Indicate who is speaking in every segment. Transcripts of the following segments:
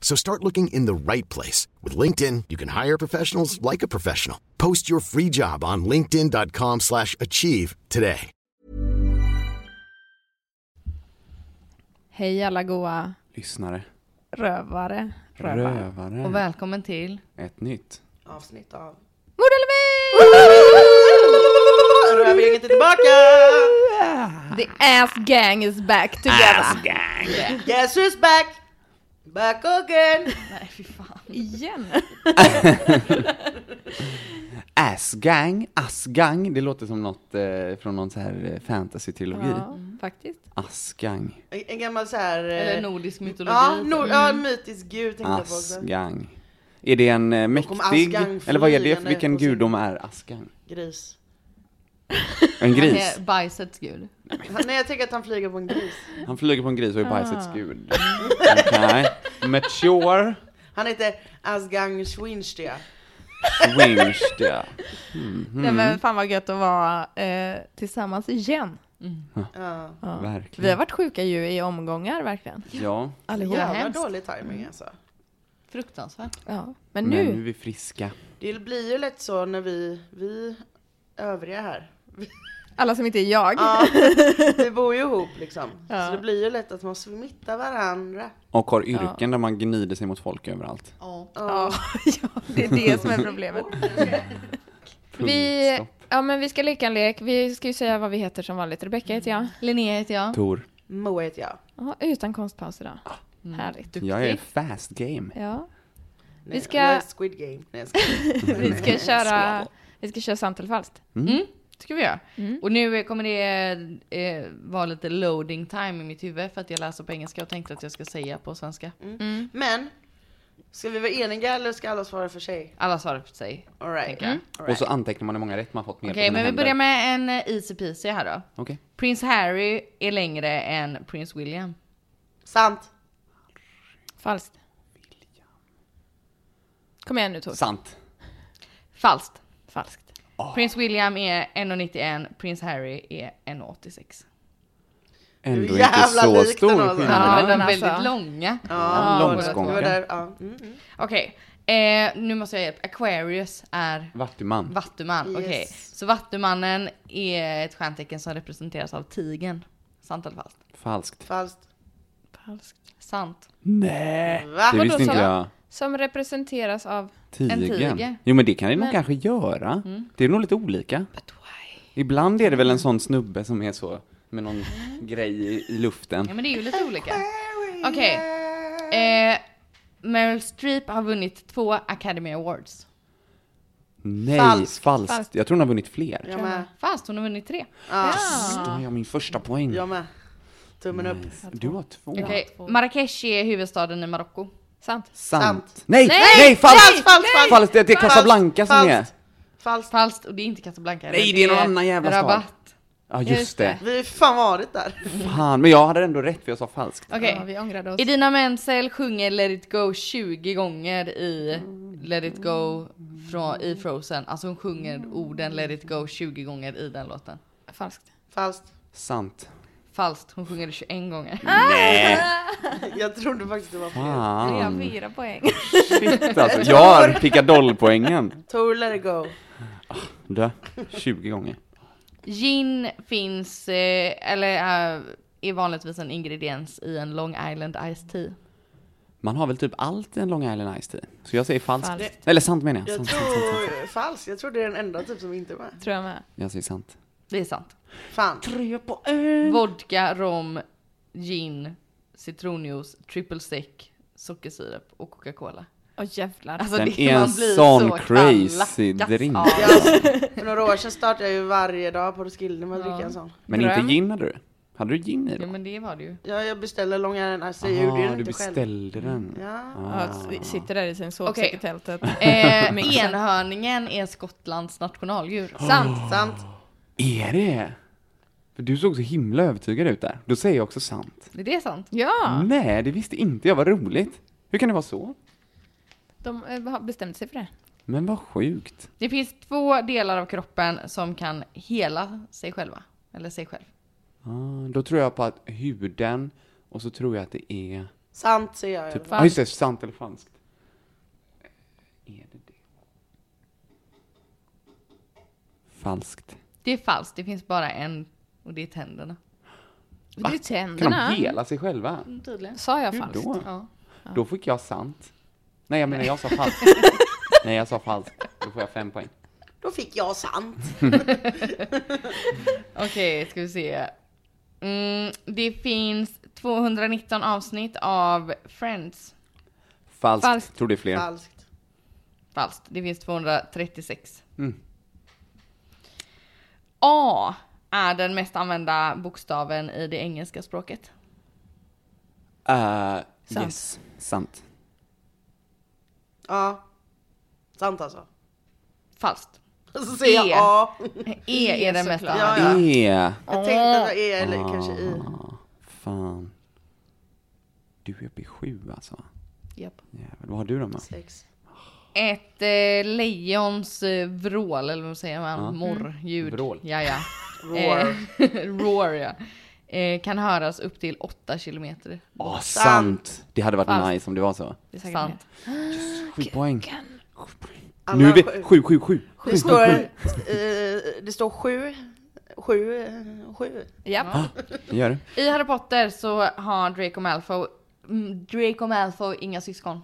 Speaker 1: So start looking in the right place. With LinkedIn, you can hire professionals like a professional. Post your free job on linkedin.com/achieve slash achieve today.
Speaker 2: Hej alla goa
Speaker 3: Lyssnare.
Speaker 2: rövare, rövar.
Speaker 3: Rövare.
Speaker 2: Och välkommen till
Speaker 3: Ett nytt.
Speaker 4: avsnitt av
Speaker 2: Mord eller
Speaker 4: Rövgänget är tillbaka!
Speaker 2: The ass gang is back together.
Speaker 4: Yes who's back! Back again!
Speaker 2: Igen.
Speaker 3: Asgang, asgang. Det låter som något eh, från någon så här eh, fantasy-trilogi.
Speaker 2: Ja, faktiskt.
Speaker 3: Asgang.
Speaker 4: En en gammal så här... eh,
Speaker 5: Eller nordisk mytologi.
Speaker 4: Ja, nor- ja,
Speaker 2: Mm.
Speaker 4: mytisk gud tänkte jag på också.
Speaker 3: Asgang. Är det en eh,
Speaker 4: kom
Speaker 3: mäktig,
Speaker 4: Asgang
Speaker 3: eller vad är det, för-
Speaker 4: flygande
Speaker 3: vilken
Speaker 4: på sin-
Speaker 3: gudom är asgang?
Speaker 4: Gris.
Speaker 3: En
Speaker 5: Han
Speaker 3: gris?
Speaker 5: är bajsets gud.
Speaker 4: Han, nej jag tänker att han flyger på en gris.
Speaker 3: Han flyger på en gris och är bajsets gud. Okej. Mature
Speaker 4: Han heter Asgang Schwinstya.
Speaker 3: winged.
Speaker 2: Nej men fan vad gött att vara eh, tillsammans igen.
Speaker 4: Ja.
Speaker 2: Vi har
Speaker 3: Verkligen.
Speaker 2: varit sjuka ju i omgångar verkligen.
Speaker 3: Ja,
Speaker 2: Allihopa.
Speaker 4: Jävla
Speaker 5: hemskt.
Speaker 4: dålig timing alltså.
Speaker 5: Fruktansvärt.
Speaker 2: Ja. Men
Speaker 3: men nu är
Speaker 2: nu,
Speaker 3: vi friska.
Speaker 4: Det blir ju lätt så när vi, vi övriga här.
Speaker 2: alla som inte är jag.
Speaker 4: Ja, vi bor ju ihop liksom. Så det blir ju lätt att man smittar varandra.
Speaker 3: Och har yrken där man gnider sig mot folk överallt.
Speaker 2: Ja, ja, det är det som är problemet. Vi,
Speaker 3: Punkt, stopp.
Speaker 2: ja, men vi ska leka en lek. Vi ska ju säga vad vi heter som vanligt. Rebecka heter jag.
Speaker 5: Linnea heter jag.
Speaker 3: Tor,
Speaker 4: Moa heter jag.
Speaker 2: Ja, utan konstpaus idag. Härligt.
Speaker 3: jag är fast game.
Speaker 2: Ja.
Speaker 4: Nej,
Speaker 2: Vi ska-
Speaker 4: Jag är Squid Game. Nej, jag ska...
Speaker 2: Vi ska
Speaker 3: Mm.
Speaker 2: köra, vi ska köra sant eller falskt.
Speaker 5: ska vi göra. Och nu eh, kommer det eh, vara lite loading time i mitt huvud för att jag läser på engelska och tänkte att jag ska säga på svenska.
Speaker 4: Men, ska vi vara eniga eller ska alla svara för sig?
Speaker 5: Alla svarar för sig.
Speaker 4: All right. Mm. All
Speaker 3: Och
Speaker 4: right.
Speaker 3: så antecknar man hur många rätt man fått med
Speaker 5: Okej, men vi börjar med en eh, easy peasy här då.
Speaker 3: Okej.
Speaker 5: Prins Harry är längre än prins William.
Speaker 4: Sant.
Speaker 2: Falskt. Kom igen nu Tor.
Speaker 3: Sant.
Speaker 5: Falskt.
Speaker 2: Falskt.
Speaker 5: Prins William är 1,91, prins Harry är 1,86.
Speaker 3: Ändå
Speaker 4: Du är
Speaker 3: inte
Speaker 4: jävla
Speaker 3: så
Speaker 4: lik
Speaker 3: stor
Speaker 4: den alltså.
Speaker 3: skillnad.
Speaker 5: Ja, de är
Speaker 2: men
Speaker 5: väldigt
Speaker 2: alltså.
Speaker 5: långa.
Speaker 4: Ja,
Speaker 3: långt
Speaker 4: det var-
Speaker 3: skånka.
Speaker 4: det var där, ja. Mm, mm.
Speaker 5: Okej, eh, nu måste jag hjälpa. Aquarius är
Speaker 3: Vattuman.
Speaker 5: vattuman.
Speaker 4: Yes.
Speaker 5: Okej, så vattumannen är ett stjärntecken som representeras av tigen. Sant eller falskt?
Speaker 3: Falskt.
Speaker 4: Falskt.
Speaker 2: Falskt.
Speaker 5: Sant.
Speaker 3: Nej.
Speaker 4: Va?
Speaker 3: Det visste
Speaker 2: Vadå,
Speaker 3: inte
Speaker 2: sa
Speaker 3: jag.
Speaker 2: Som representeras av...
Speaker 5: En
Speaker 3: Tigen.
Speaker 5: tiger.
Speaker 3: Jo men det kan det nog
Speaker 5: Men-
Speaker 3: kanske göra. Det är nog lite olika. Ibland är det väl en sån snubbe som är så med någon grej i, i
Speaker 5: Ja
Speaker 3: luften.
Speaker 5: men det är ju lite olika. Okej. Eh, Meryl Streep har vunnit två Academy Awards.
Speaker 3: Nej, falskt.
Speaker 4: Falskt.
Speaker 2: Falskt.
Speaker 3: Jag tror hon har vunnit fler.
Speaker 4: Jag med.
Speaker 5: Mm. Fast hon har vunnit tre.
Speaker 3: Ah, jag har min första poäng.
Speaker 4: Jag med. Tummen upp.
Speaker 3: Du har två.
Speaker 5: Okej, Marrakesh är huvudstaden i Marocko.
Speaker 2: Sant.
Speaker 3: Sant.
Speaker 4: Sant.
Speaker 3: Nej, nej,
Speaker 5: Nej,
Speaker 3: falskt!
Speaker 4: falskt, falskt, falskt.
Speaker 3: Falskt, det är Casablanca som är.
Speaker 4: Falskt. Falskt.
Speaker 5: Falskt och det är inte Casablanca.
Speaker 3: Nej, det är någon annan jävla stad.
Speaker 5: Rabatt.
Speaker 3: Ja, just
Speaker 2: Just
Speaker 3: det.
Speaker 2: det.
Speaker 4: Vi har ju fan varit där.
Speaker 3: Fan, men jag hade ändå rätt för jag sa falskt.
Speaker 5: Okej.
Speaker 2: Ja, vi ångrade oss.
Speaker 5: Idina Menzel sjunger Let it go 20 gånger i Let it go från, i Frozen. Alltså hon sjunger orden Let it go 20 gånger i den låten.
Speaker 2: Falskt.
Speaker 4: Falskt.
Speaker 3: Sant.
Speaker 5: Falskt, hon sjunger det 21 gånger.
Speaker 4: Jag trodde faktiskt det var fel.
Speaker 2: Vi
Speaker 3: Fan,
Speaker 2: har fyra poäng.
Speaker 3: shit alltså. Jag har pickadollpoängen.
Speaker 4: Tor let it go.
Speaker 3: Dö. 20 gånger.
Speaker 5: Gin finns, eh, eller eh, är vanligtvis en ingrediens i en Long Island Iced Tea.
Speaker 3: Man har väl typ allt i en Long Island Ice Tea. Så jag säger falskt.
Speaker 2: Falskt.
Speaker 3: Eller sant menar jag.
Speaker 4: Jag
Speaker 3: Sant, sant, sant, sant.
Speaker 4: tror falskt. Jag tror det är den enda typ som inte är med.
Speaker 2: Tror jag med.
Speaker 3: Jag säger sant.
Speaker 5: Det är sant.
Speaker 4: Fan.
Speaker 5: Vodka, rom, gin, citronjuice, triple sec, sockersirap och coca-cola.
Speaker 2: Åh jävlar.
Speaker 5: Alltså,
Speaker 3: Den
Speaker 5: det-
Speaker 3: är
Speaker 5: man
Speaker 3: en
Speaker 5: blir
Speaker 3: sån
Speaker 5: så
Speaker 3: crazy
Speaker 5: kallackas
Speaker 3: drink.
Speaker 5: av
Speaker 4: Ja, för några år sedan startade jag ju varje dag på Roskilde med att dricka en sån.
Speaker 3: Men
Speaker 5: Dröm.
Speaker 3: inte gin hade du? Hade du gin i
Speaker 5: Ja
Speaker 3: då?
Speaker 5: men det var det ju.
Speaker 4: Ja, jag beställde Long Island Ice, jag gjorde ju
Speaker 3: Ja,
Speaker 4: den
Speaker 3: du
Speaker 4: inte själv. Mm.
Speaker 3: beställde den.
Speaker 4: Ja.
Speaker 2: Ja, s- sitter där i sin sovsäck
Speaker 5: Okej.
Speaker 2: i tältet.
Speaker 5: Eh, enhörningen är Skottlands nationaldjur. Sant!
Speaker 4: Sant.
Speaker 3: Är det? För du såg så himla övertygad ut där. Då säger jag också sant.
Speaker 5: Det är sant.
Speaker 2: Ja,
Speaker 3: Nej, det visste inte jag. Vad roligt. Hur kan det vara så?
Speaker 2: de eh, har bestämt sig för det.
Speaker 3: Men vad sjukt.
Speaker 5: Det finns två delar av kroppen som kan hela sig själva. Eller sig själv.
Speaker 3: Ah, då tror jag på att huden och så tror jag att det är...
Speaker 4: Sant säger jag.
Speaker 3: Typ,
Speaker 4: Typ.
Speaker 3: ah, just det, sant eller falskt. Är det det? Falskt.
Speaker 5: Det är falskt, det finns bara en och det är tänderna.
Speaker 2: Det
Speaker 3: Ah,
Speaker 2: är ju
Speaker 3: Kan
Speaker 2: tänderna.
Speaker 3: de hela sig själva?
Speaker 5: Tydligen.
Speaker 2: Sa jag
Speaker 3: Hur
Speaker 2: falskt?
Speaker 3: då?
Speaker 5: Ja.
Speaker 3: Då fick jag sant. Nej, jag menar jag sa falskt. Nej, jag sa falskt. Då får jag fem poäng.
Speaker 4: Då fick jag sant.
Speaker 5: Okej, ska vi se. Mm, det finns 219 avsnitt av Friends.
Speaker 3: Falskt.
Speaker 2: Falskt.
Speaker 3: Tror det är fler.
Speaker 4: Falskt.
Speaker 5: Falskt. Det finns 236.
Speaker 3: Mm.
Speaker 5: A är den mest använda bokstaven i det engelska språket.
Speaker 3: Eh,
Speaker 2: Sant.
Speaker 3: Yes, sant.
Speaker 4: Ja. Sant alltså.
Speaker 5: Falskt.
Speaker 4: Så säger jag
Speaker 5: E.
Speaker 4: ja.
Speaker 5: E är den mest
Speaker 2: såklart.
Speaker 5: använda.
Speaker 4: Ja, ja.
Speaker 3: E.
Speaker 4: Jag tänkte att det var E eller kanske I.
Speaker 3: Ah, fan. Du är uppe i sju alltså.
Speaker 5: Japp.
Speaker 3: Jävlar, vad har du då med?
Speaker 4: Sex.
Speaker 5: Ett eh, lejons eh, vrål, eller vad säger man?
Speaker 2: Mm.
Speaker 5: Morrljud.
Speaker 3: Vrål.
Speaker 5: Ja, ja.
Speaker 4: Roar.
Speaker 5: Eh, roar, ja. Eh, kan höras upp till 8 kilometer.
Speaker 3: Ah, sant.
Speaker 4: Sant.
Speaker 3: Det hade varit
Speaker 5: Falskt.
Speaker 3: nice om det var så.
Speaker 5: Det är
Speaker 2: säkert
Speaker 5: sant.
Speaker 3: Sju poäng. Sju poäng. Nu
Speaker 4: Alla
Speaker 3: är vi
Speaker 4: sju.
Speaker 3: sju, sju, sju.
Speaker 4: Det står, eh, det står sju. Sju. eh, Sju.
Speaker 2: Ja.
Speaker 3: Det gör det.
Speaker 5: I Harry Potter så har Draco Malfoy, mm, Draco Malfoy inga syskon.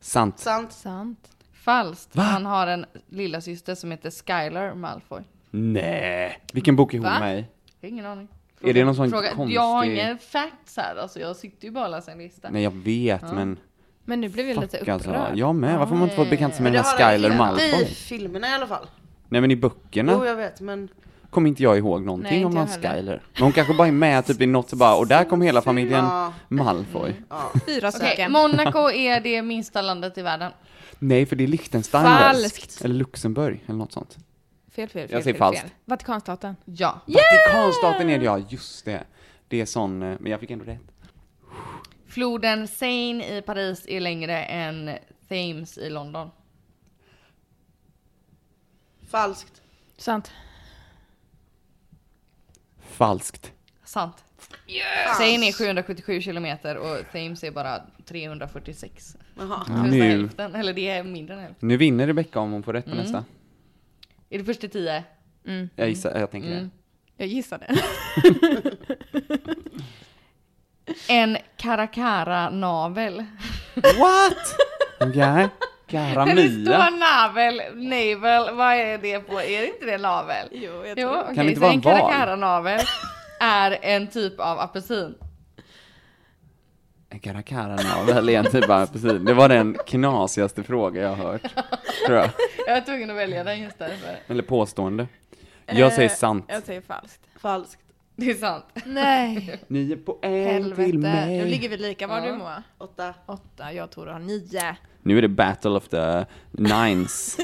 Speaker 3: Sant.
Speaker 4: Sant.
Speaker 2: Sant.
Speaker 5: Falskt.
Speaker 3: Va?
Speaker 5: Han har en lilla syster som heter Skylar Malfoy.
Speaker 3: Nej. Vilken bok är hon
Speaker 5: Va?
Speaker 3: med i?
Speaker 5: Jag har ingen aning.
Speaker 3: Är det någon sån konstig-
Speaker 5: Jag har ingen facts här, alltså jag sitter ju bara och läser en lista.
Speaker 3: Nej, jag vet, men
Speaker 2: Men nu blev jag lite
Speaker 3: fuck
Speaker 2: upprörd.
Speaker 3: alltså. Jag med. Varför har man inte fått bekant sig med
Speaker 4: Men
Speaker 3: den här
Speaker 4: det har jag
Speaker 3: Skyler
Speaker 4: inte
Speaker 3: Malfoy?
Speaker 4: I filmerna i alla fall.
Speaker 3: Nej, men i böckerna
Speaker 4: Jo, jag vet, men
Speaker 3: kommer inte jag ihåg någonting
Speaker 2: Nej, inte
Speaker 3: om
Speaker 2: jag
Speaker 3: någon
Speaker 2: heller.
Speaker 3: Skyler. Men hon kanske bara är med typ i något och bara, och där kom hela familjen
Speaker 4: Ja.
Speaker 3: Malfoy.
Speaker 2: Fyra
Speaker 5: Okej,
Speaker 2: stycken.
Speaker 5: Monaco är det minsta landet i världen.
Speaker 3: Nej, för det är Liechtenstein väl?
Speaker 2: Falskt.
Speaker 3: Eller Luxemburg, eller något sånt.
Speaker 2: Fel, fel, fel.
Speaker 3: Jag säger
Speaker 2: fel,
Speaker 3: falskt.
Speaker 2: fel. Vatikanstaten.
Speaker 5: Ja.
Speaker 3: Vatikanstaten är det, ja just det. Det är sån, eh, men jag fick ändå rätt.
Speaker 5: Floden Seine i Paris är längre än Thames i London.
Speaker 4: falskt.
Speaker 2: Sant.
Speaker 3: Falskt.
Speaker 5: Sant. Seine är 777 kilometer och Thames är bara 346.
Speaker 4: Jaha.
Speaker 5: Det är
Speaker 3: Nu.
Speaker 5: nästan hälften, eller det är mindre än hälften.
Speaker 3: Nu vinner Rebecka om hon får rätt på
Speaker 2: Mm.
Speaker 3: nästa.
Speaker 5: Är det först till 10?
Speaker 3: Jag gissar, jag tänker
Speaker 2: Mm.
Speaker 3: det.
Speaker 2: Jag gissade.
Speaker 5: En karakara-navel.
Speaker 3: What? Okej.
Speaker 5: När det står
Speaker 3: Karamia.
Speaker 5: navel, navel, vad är det på? Är det inte det navel? Jo, jag tror
Speaker 3: Kan det inte vara en
Speaker 5: en
Speaker 3: val?
Speaker 5: karakara-navel är en typ av apelsin.
Speaker 3: Karakara väl igen, typ bara, precis. Det var den knasigaste fråga jag har hört. Tror jag.
Speaker 5: Jag var tvungen att välja den just därför.
Speaker 3: Eller påstående. Jag säger sant.
Speaker 2: Eh, Jag säger falskt.
Speaker 4: Falskt.
Speaker 5: Det är sant.
Speaker 2: Nej.
Speaker 3: Nio poäng till
Speaker 2: Helvete. Nu
Speaker 3: mig.
Speaker 2: ligger vi lika var
Speaker 5: Ja.
Speaker 2: du Moa.
Speaker 4: Åtta.
Speaker 2: Åtta, jag tror du har nio.
Speaker 3: Nu är det battle of the nines.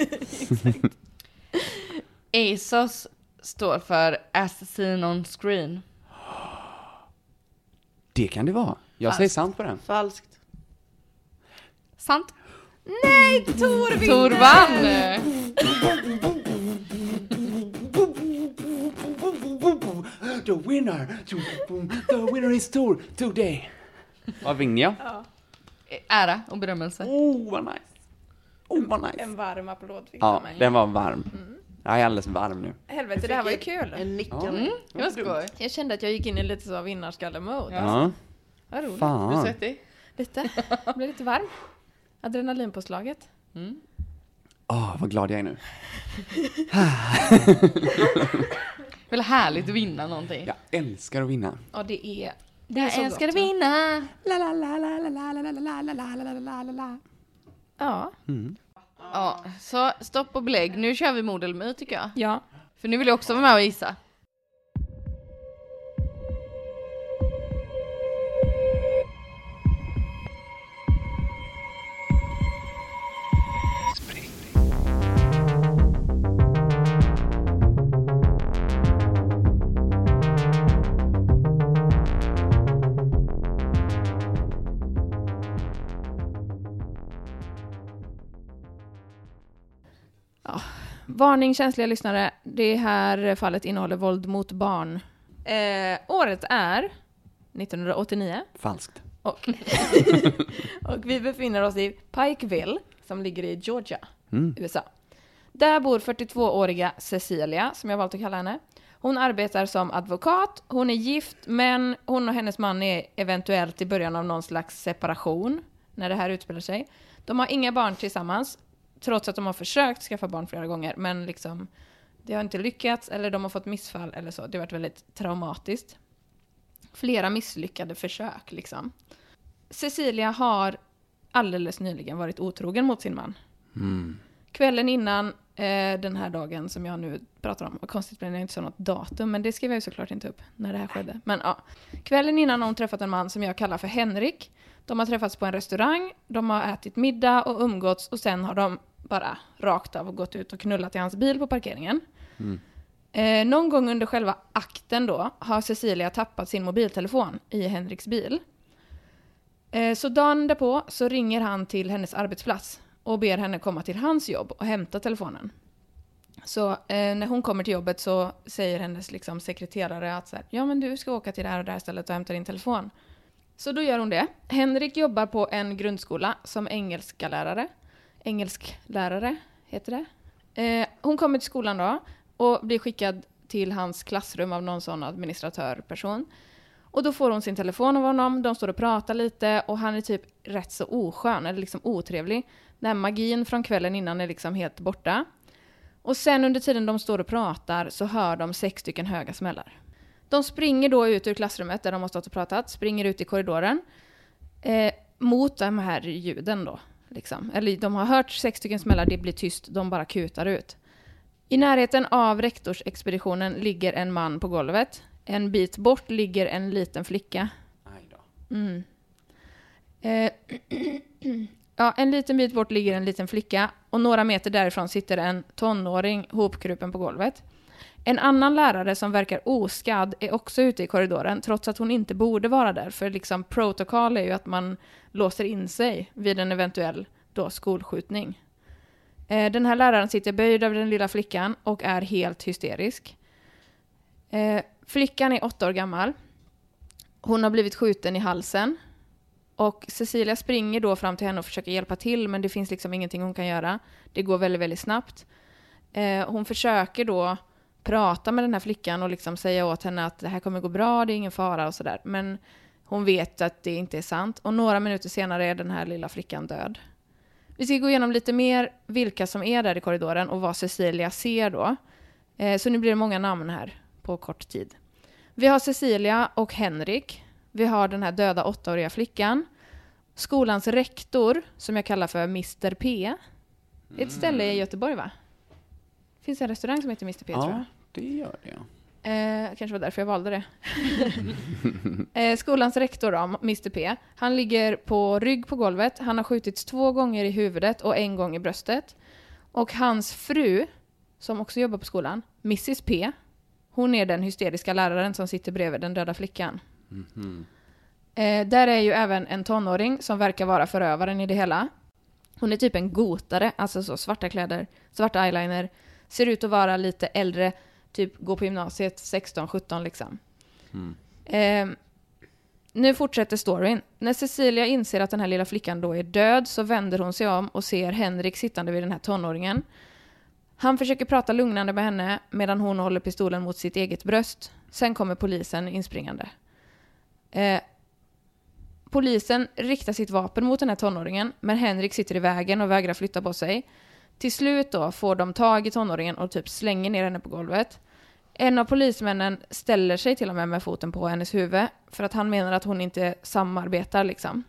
Speaker 5: ASOS står för As seen on screen.
Speaker 3: Det kan det vara. Jag säger sant på den.
Speaker 4: Falskt.
Speaker 5: Sant? Nej, Tor vann!
Speaker 3: The winner, the winner is Tor today. Vad vinner jag?
Speaker 5: Ära och berömmelse.
Speaker 3: Oh, vad nice. Oh, vad nice.
Speaker 2: En varm applåd fick
Speaker 3: Ja, den var varm. Jag är alldeles varm nu.
Speaker 2: Helvete, det här var ju kul.
Speaker 4: En nickande.
Speaker 5: Det var skoj.
Speaker 2: Jag kände att jag gick in i lite så vinnarskalle-mode.
Speaker 3: Ja,
Speaker 2: Vad roligt.
Speaker 3: fan.
Speaker 5: Svettig?
Speaker 2: Lite. Jag blev lite varm. Adrenalinpåslaget.
Speaker 3: Åh, vad glad jag är nu.
Speaker 5: Väl härligt att vinna någonting.
Speaker 3: Jag älskar att vinna.
Speaker 2: Ja, det är Det är jag ska vinna.
Speaker 5: La, la, la, la, la, la, la, la, la, la, la, la, la, la, la. Ja.
Speaker 2: Ja, så stopp och belägg. Nu kör vi mod eller mur tycker jag.
Speaker 5: Ja.
Speaker 2: För nu vill jag också vara med och gissa.
Speaker 5: Varning känsliga lyssnare. Det här fallet innehåller våld mot barn. Eh, året är 1989
Speaker 3: Falskt.
Speaker 5: och, och vi befinner oss i Pikeville som ligger i Georgia,
Speaker 3: Mm.
Speaker 5: USA. Där bor 42-åriga Cecilia, som jag valt att kalla henne. Hon arbetar som advokat, hon är gift, men hon och hennes man är eventuellt i början av någon slags separation när det här utspelar sig. De har inga barn tillsammans, trots att de har försökt skaffa barn flera gånger, men liksom det har inte lyckats eller de har fått missfall eller så. Det har varit väldigt traumatiskt. Flera misslyckade försök liksom. Cecilia har alldeles nyligen varit otrogen mot sin man. Kvällen innan eh, den här dagen som jag nu pratar om, och konstigt blev det inte så något datum, men det skrev jag ju såklart inte upp när det här skedde. Men ja. Kvällen innan har hon träffat en man som jag kallar för Henrik. De har träffats på en restaurang, de har ätit middag och umgåtts och sen har de bara rakt av gått ut och knullat i hans bil på parkeringen. Eh, någon gång under själva akten då har Cecilia tappat sin mobiltelefon i Henriks bil. Eh, så dagen därpå så ringer han till hennes arbetsplats och ber henne komma till hans jobb och hämta telefonen. Så eh, när hon kommer till jobbet så säger hennes liksom, sekreterare att så här, ja men du ska åka till det här och det här stället och hämta din telefon. Så då gör hon det. Henrik jobbar på en grundskola som engelskalärare. Engelsklärare heter det. Eh, hon kommer till skolan då och blir skickad till hans klassrum av någon sån administratörperson. Och då får hon sin telefon av honom, de står och pratar lite och han är typ rätt så oskön, eller liksom otrevlig. Den här magin från kvällen innan är liksom helt borta. Och sen under tiden de står och pratar så hör de sex stycken höga smällar. De springer då ut ur klassrummet där de har stått och pratat, springer ut i korridoren. Eh, mot de här ljuden då. Liksom. Eller de har hört sex stycken smällar, det blir tyst, de bara kutar ut. I närheten av rektorsexpeditionen ligger en man på golvet. En bit bort ligger en liten flicka.
Speaker 3: Aj då.
Speaker 5: Eh, ja, en liten bit bort ligger en liten flicka och några meter därifrån sitter en tonåring hopkrupen på golvet. En annan lärare som verkar oskadd är också ute i korridoren trots att hon inte borde vara där för liksom protokoll är ju att man låser in sig vid en eventuell då skolskjutning. Eh, den här läraren sitter böjd över den lilla flickan och är helt hysterisk. Eh, flickan är åtta år gammal. Hon har blivit skjuten i halsen. Och Cecilia springer då fram till henne och försöker hjälpa till men det finns liksom ingenting hon kan göra. Det går väldigt, väldigt snabbt. Eh, hon försöker då prata med den här flickan och liksom säga åt henne att det här kommer gå bra, det är ingen fara och sådär. Men hon vet att det inte är sant. Och några minuter senare är den här lilla flickan död. Vi ska gå igenom lite mer vilka som är där i korridoren och vad Cecilia ser då. Eh, så nu blir det många namn här på kort tid. Vi har Cecilia och Henrik. Vi har den här döda åttaåriga flickan. Skolans rektor, som jag kallar för Mr P. Det är ett ställe i Göteborg va? Finns det en restaurang som heter Mr P tror jag.
Speaker 3: Ja, det gör det. ja.
Speaker 5: Eh, kanske var därför jag valde det. eh, skolans rektor då, Mr P, han ligger på rygg på golvet. Han har skjutits två gånger i huvudet och en gång i bröstet. Och hans fru, som också jobbar på skolan, Mrs P, hon är den hysteriska läraren som sitter bredvid den döda flickan. Eh, där är ju även en tonåring som verkar vara förövaren i det hela. Hon är typ en gotare, alltså så svarta kläder, svarta eyeliner, ser ut att vara lite äldre, typ gå på gymnasiet 16-17 liksom. Eh, nu fortsätter storyn. När Cecilia inser att den här lilla flickan då är död så vänder hon sig om och ser Henrik sittande vid den här tonåringen. Han försöker prata lugnande med henne medan hon håller pistolen mot sitt eget bröst. Sen kommer polisen inspringande. Eh, polisen riktar sitt vapen mot den här tonåringen men Henrik sitter i vägen och vägrar flytta på sig. Till slut då får de tag i tonåringen och typ slänger ner henne på golvet. En av polismännen ställer sig till och med med foten på hennes huvud för att han menar att hon inte samarbetar liksom.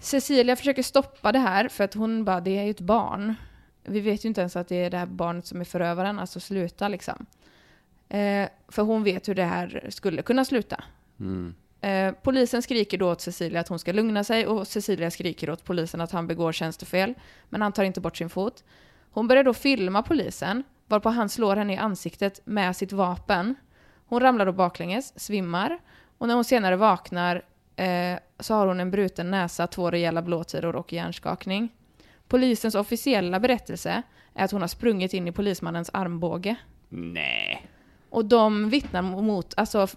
Speaker 5: Cecilia försöker stoppa det här för att hon bara, det är ju ett barn. Vi vet ju inte ens att det är det här barnet som är förövaren, alltså sluta liksom. Eh, för hon vet hur det här skulle kunna sluta. Eh, polisen skriker då åt Cecilia att hon ska lugna sig och Cecilia skriker åt polisen att han begår tjänstefel. Men han tar inte bort sin fot. Hon börjar då filma polisen, varpå han slår henne i ansiktet med sitt vapen. Hon ramlar då baklänges, svimmar. Och när hon senare vaknar eh, så har hon en bruten näsa, två rejäla blåtiror och hjärnskakning. Polisens officiella berättelse är att hon har sprungit in i polismannens armbåge.
Speaker 3: Nej.
Speaker 5: Och de vittnar mot, alltså, f-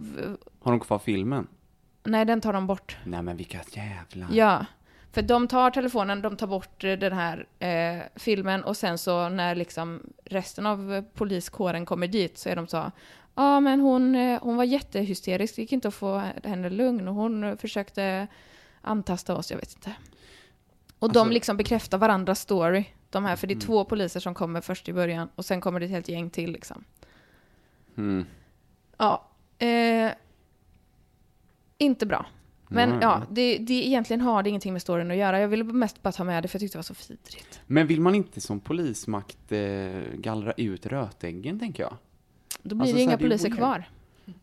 Speaker 3: Har de kvar filmen?
Speaker 5: nej den tar de bort.
Speaker 3: Nej men vilka jävla...
Speaker 5: Ja, för de tar telefonen, de tar bort eh, den här eh, filmen och sen så när liksom resten av eh, poliskåren kommer dit så är de så ja ah, men hon, eh, hon var jättehysterisk, det gick inte att få henne lugn och hon eh, försökte antasta oss, jag vet inte. Och de
Speaker 3: Alltså- Mm.
Speaker 5: liksom bekräftar varandras story, de här, för det är två poliser som kommer först i början och sen kommer det ett helt gäng till liksom.
Speaker 3: Mm.
Speaker 5: Ja. Eh, inte bra. Men
Speaker 3: Nej.
Speaker 5: ja, det, det egentligen har det ingenting med storyn att göra. Jag ville mest bara ta med det för jag tyckte det var så vidrigt.
Speaker 3: Men vill man inte som polismakt eh, gallra ut rötäggen, tänker jag?
Speaker 5: Då blir
Speaker 3: Alltså,
Speaker 5: det
Speaker 3: så här,
Speaker 5: inga
Speaker 3: det är
Speaker 5: poliser
Speaker 3: weird.
Speaker 5: kvar.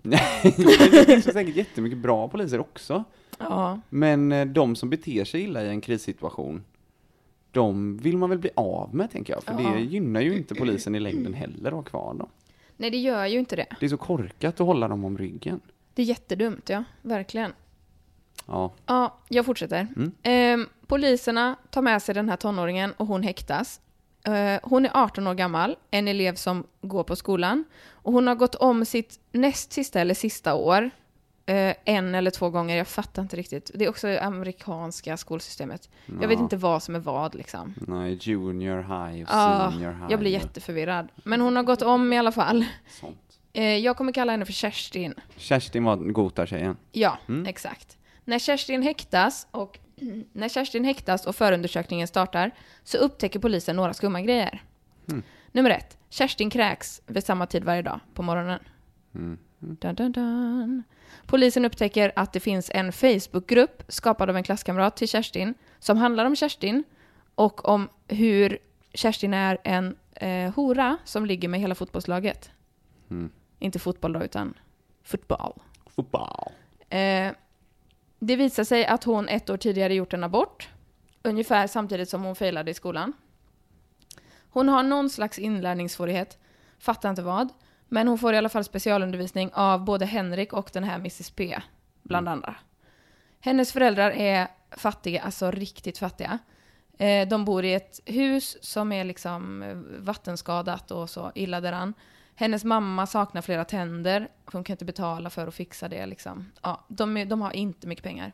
Speaker 3: Nej, men det finns ju säkert jättemycket bra poliser också.
Speaker 5: Ja.
Speaker 3: Men eh, de som beter sig illa i en krissituation, de vill man väl bli av med, tänker jag. För
Speaker 5: Ja.
Speaker 3: det gynnar ju inte polisen i längden heller att ha kvar dem.
Speaker 5: Nej, det gör ju inte det.
Speaker 3: Det är så korkat att hålla dem om ryggen.
Speaker 5: Det är jättedumt, ja. Verkligen.
Speaker 3: Ja.
Speaker 5: Ja, jag fortsätter.
Speaker 3: Mm.
Speaker 5: Ehm, poliserna tar med sig den här tonåringen och hon häktas. Eh, hon är 18 år gammal, en elev som går på skolan. Och hon har gått om sitt näst sista eller sista år. eh, en eller två gånger, jag fattar inte riktigt. Det är också det amerikanska skolsystemet. Jag vet inte vad som är vad liksom.
Speaker 3: Nej, junior high och
Speaker 5: Ah,
Speaker 3: senior high.
Speaker 5: jag blir
Speaker 3: och
Speaker 5: jätteförvirrad. Men hon har gått om i alla fall.
Speaker 3: Sånt.
Speaker 5: Eh, jag kommer kalla henne för Kerstin.
Speaker 3: Kerstin var Gotar-tjejen.
Speaker 5: Ja, exakt. När Kerstin häktas och när Kerstin häktas och förundersökningen startar så upptäcker polisen några skumma grejer. Nummer ett. Kerstin kräks vid samma tid varje dag på morgonen. Dun, dun, dun. Polisen upptäcker att det finns en Facebookgrupp skapad av en klasskamrat till Kerstin som handlar om Kerstin och om hur Kerstin är en eh, hora som ligger med hela fotbollslaget. Inte fotboll då, utan fotboll.
Speaker 3: Fotboll.
Speaker 5: Eh, det visar sig att hon ett år tidigare gjort en abort. Ungefär samtidigt som hon failade i skolan. Hon har någon slags inlärningssvårighet. Fattar inte vad. Men hon får i alla fall specialundervisning av både Henrik och den här Mrs P. Bland andra. Hennes föräldrar är fattiga, alltså riktigt fattiga. Eh, De bor i ett hus som är liksom eh, vattenskadat och så illa däran. Hennes mamma saknar flera tänder, för hon kan inte betala för att fixa det. Liksom. Ja, de, är- de har inte mycket pengar.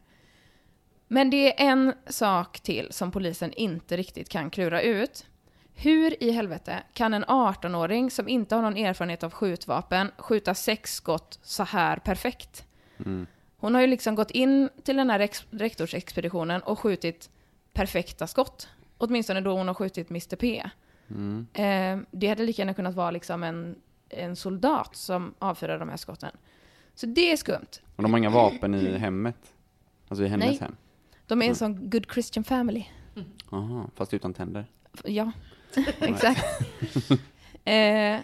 Speaker 5: Men det är en sak till som polisen inte riktigt kan klura ut. Hur i helvete kan en 18-åring som inte har någon erfarenhet av skjutvapen skjuta sex skott så här perfekt? Hon har ju liksom gått in till den här rex- rektorsexpeditionen och skjutit perfekta skott. Åtminstone då hon har skjutit Mr P. Eh, det hade lika gärna kunnat vara liksom en, en soldat som avfyrar de här skotten. Så det är skumt.
Speaker 3: Och de har inga vapen i hemmet. Alltså i hennes
Speaker 5: Nej.
Speaker 3: hem.
Speaker 5: De är en sån good Christian family.
Speaker 3: Aha, fast utan tänder.
Speaker 5: Ja, exakt. eh,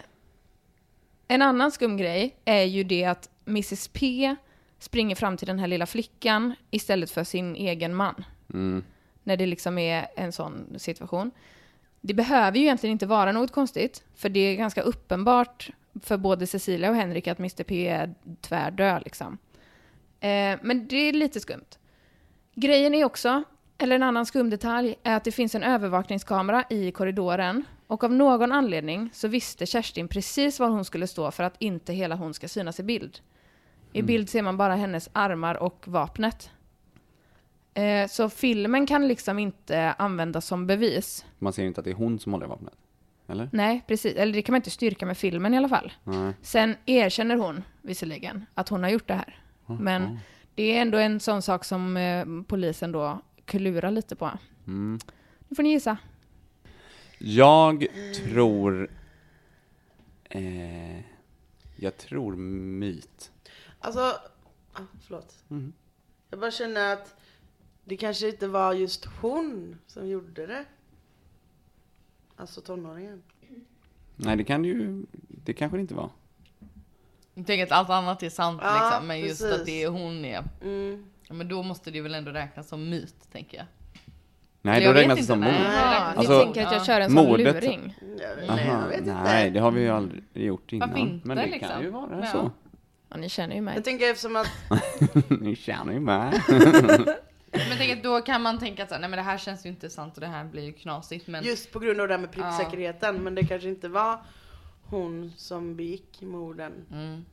Speaker 5: en annan skum grej är ju det att Mrs P springer fram till den här lilla flickan istället för sin egen man. När det liksom är en sån situation. Det behöver ju egentligen inte vara något konstigt, för det är ganska uppenbart för både Cecilia och Henrik att Mr P är tvärdö liksom. Eh, men det är lite skumt. Grejen är också, eller en annan skum detalj, är att det finns en övervakningskamera i korridoren. Och av någon anledning så visste Kerstin precis var hon skulle stå för att inte hela hon ska synas i bild. I bild ser man bara hennes armar och vapnet. Eh, så filmen kan liksom inte användas som bevis.
Speaker 3: Man ser ju inte att det är hon som håller i vapnet. Eller?
Speaker 5: Nej, precis. Eller det kan man inte styrka med filmen i alla fall.
Speaker 3: Nej.
Speaker 5: Sen erkänner hon visserligen att hon har gjort det här. Men det är ändå en sån sak som eh, polisen då klurar lite på.
Speaker 3: Mm.
Speaker 5: Nu får ni gissa.
Speaker 3: Jag tror... Eh, Jag tror myt.
Speaker 4: Alltså, ah, förlåt.
Speaker 3: Mm.
Speaker 4: Jag bara känner att det kanske inte var just hon som gjorde det. Alltså tonåringen.
Speaker 3: Nej, det kan det ju... Det kanske det inte var.
Speaker 2: Jag tänker att allt annat är sant
Speaker 4: Ja,
Speaker 2: liksom, men just
Speaker 4: precis.
Speaker 2: att det är hon är.
Speaker 4: Mm.
Speaker 2: Ja, Men då måste det väl ändå räknas som myt, tänker jag.
Speaker 3: Nej,
Speaker 2: jag
Speaker 3: då
Speaker 2: vet
Speaker 3: räknas det som
Speaker 2: inte,
Speaker 3: mord.
Speaker 2: nej.
Speaker 5: Ja, ni
Speaker 3: Alltså,
Speaker 5: tänker att
Speaker 2: ja.
Speaker 5: jag kör en sån
Speaker 3: Mordet-
Speaker 5: luring.
Speaker 4: Jag, nej, jag
Speaker 3: Aha,
Speaker 4: vet
Speaker 3: nej,
Speaker 4: inte.
Speaker 3: det har vi ju aldrig gjort innan.
Speaker 2: Varför inte,
Speaker 3: Men det
Speaker 2: liksom?
Speaker 3: kan ju vara
Speaker 2: Ja.
Speaker 3: så.
Speaker 5: Ja, ni känner ju mig.
Speaker 4: Jag tänker eftersom att,
Speaker 3: Ni känner ju mig.
Speaker 2: Men tänk att då kan man tänka att så här, nej men det här känns ju inte sant och det här blir ju knasigt. Men
Speaker 4: just på grund av det här med pricksäkerheten, men det kanske inte var hon som begick morden.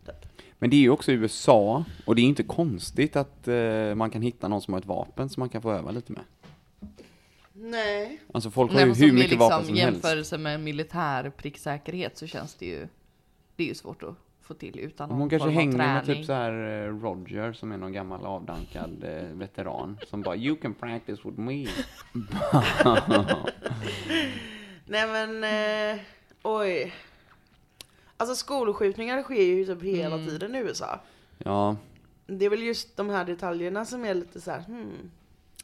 Speaker 3: Men det är ju också i USA och det är inte konstigt att eh, man kan hitta någon som har ett vapen som man kan få öva lite med.
Speaker 4: Nej.
Speaker 3: Alltså folk har
Speaker 2: nej,
Speaker 3: ju
Speaker 2: men som
Speaker 3: hur
Speaker 2: det är
Speaker 3: mycket vapen
Speaker 2: liksom
Speaker 3: som helst.
Speaker 2: jämförelse med militär pricksäkerhet så känns det ju, det är ju svårt att få till utan
Speaker 3: Om
Speaker 2: någon
Speaker 3: hon kanske
Speaker 2: form av
Speaker 3: hänger med
Speaker 2: träning.
Speaker 3: typ så här eh, Roger som är någon gammal avdankad eh, veteran som bara You can practice with me.
Speaker 4: Nej men, eh, oj. Alltså skolskjutningar sker ju typ hela tiden i USA.
Speaker 3: Ja,
Speaker 4: Det är väl just de här detaljerna som är lite så här, hmm.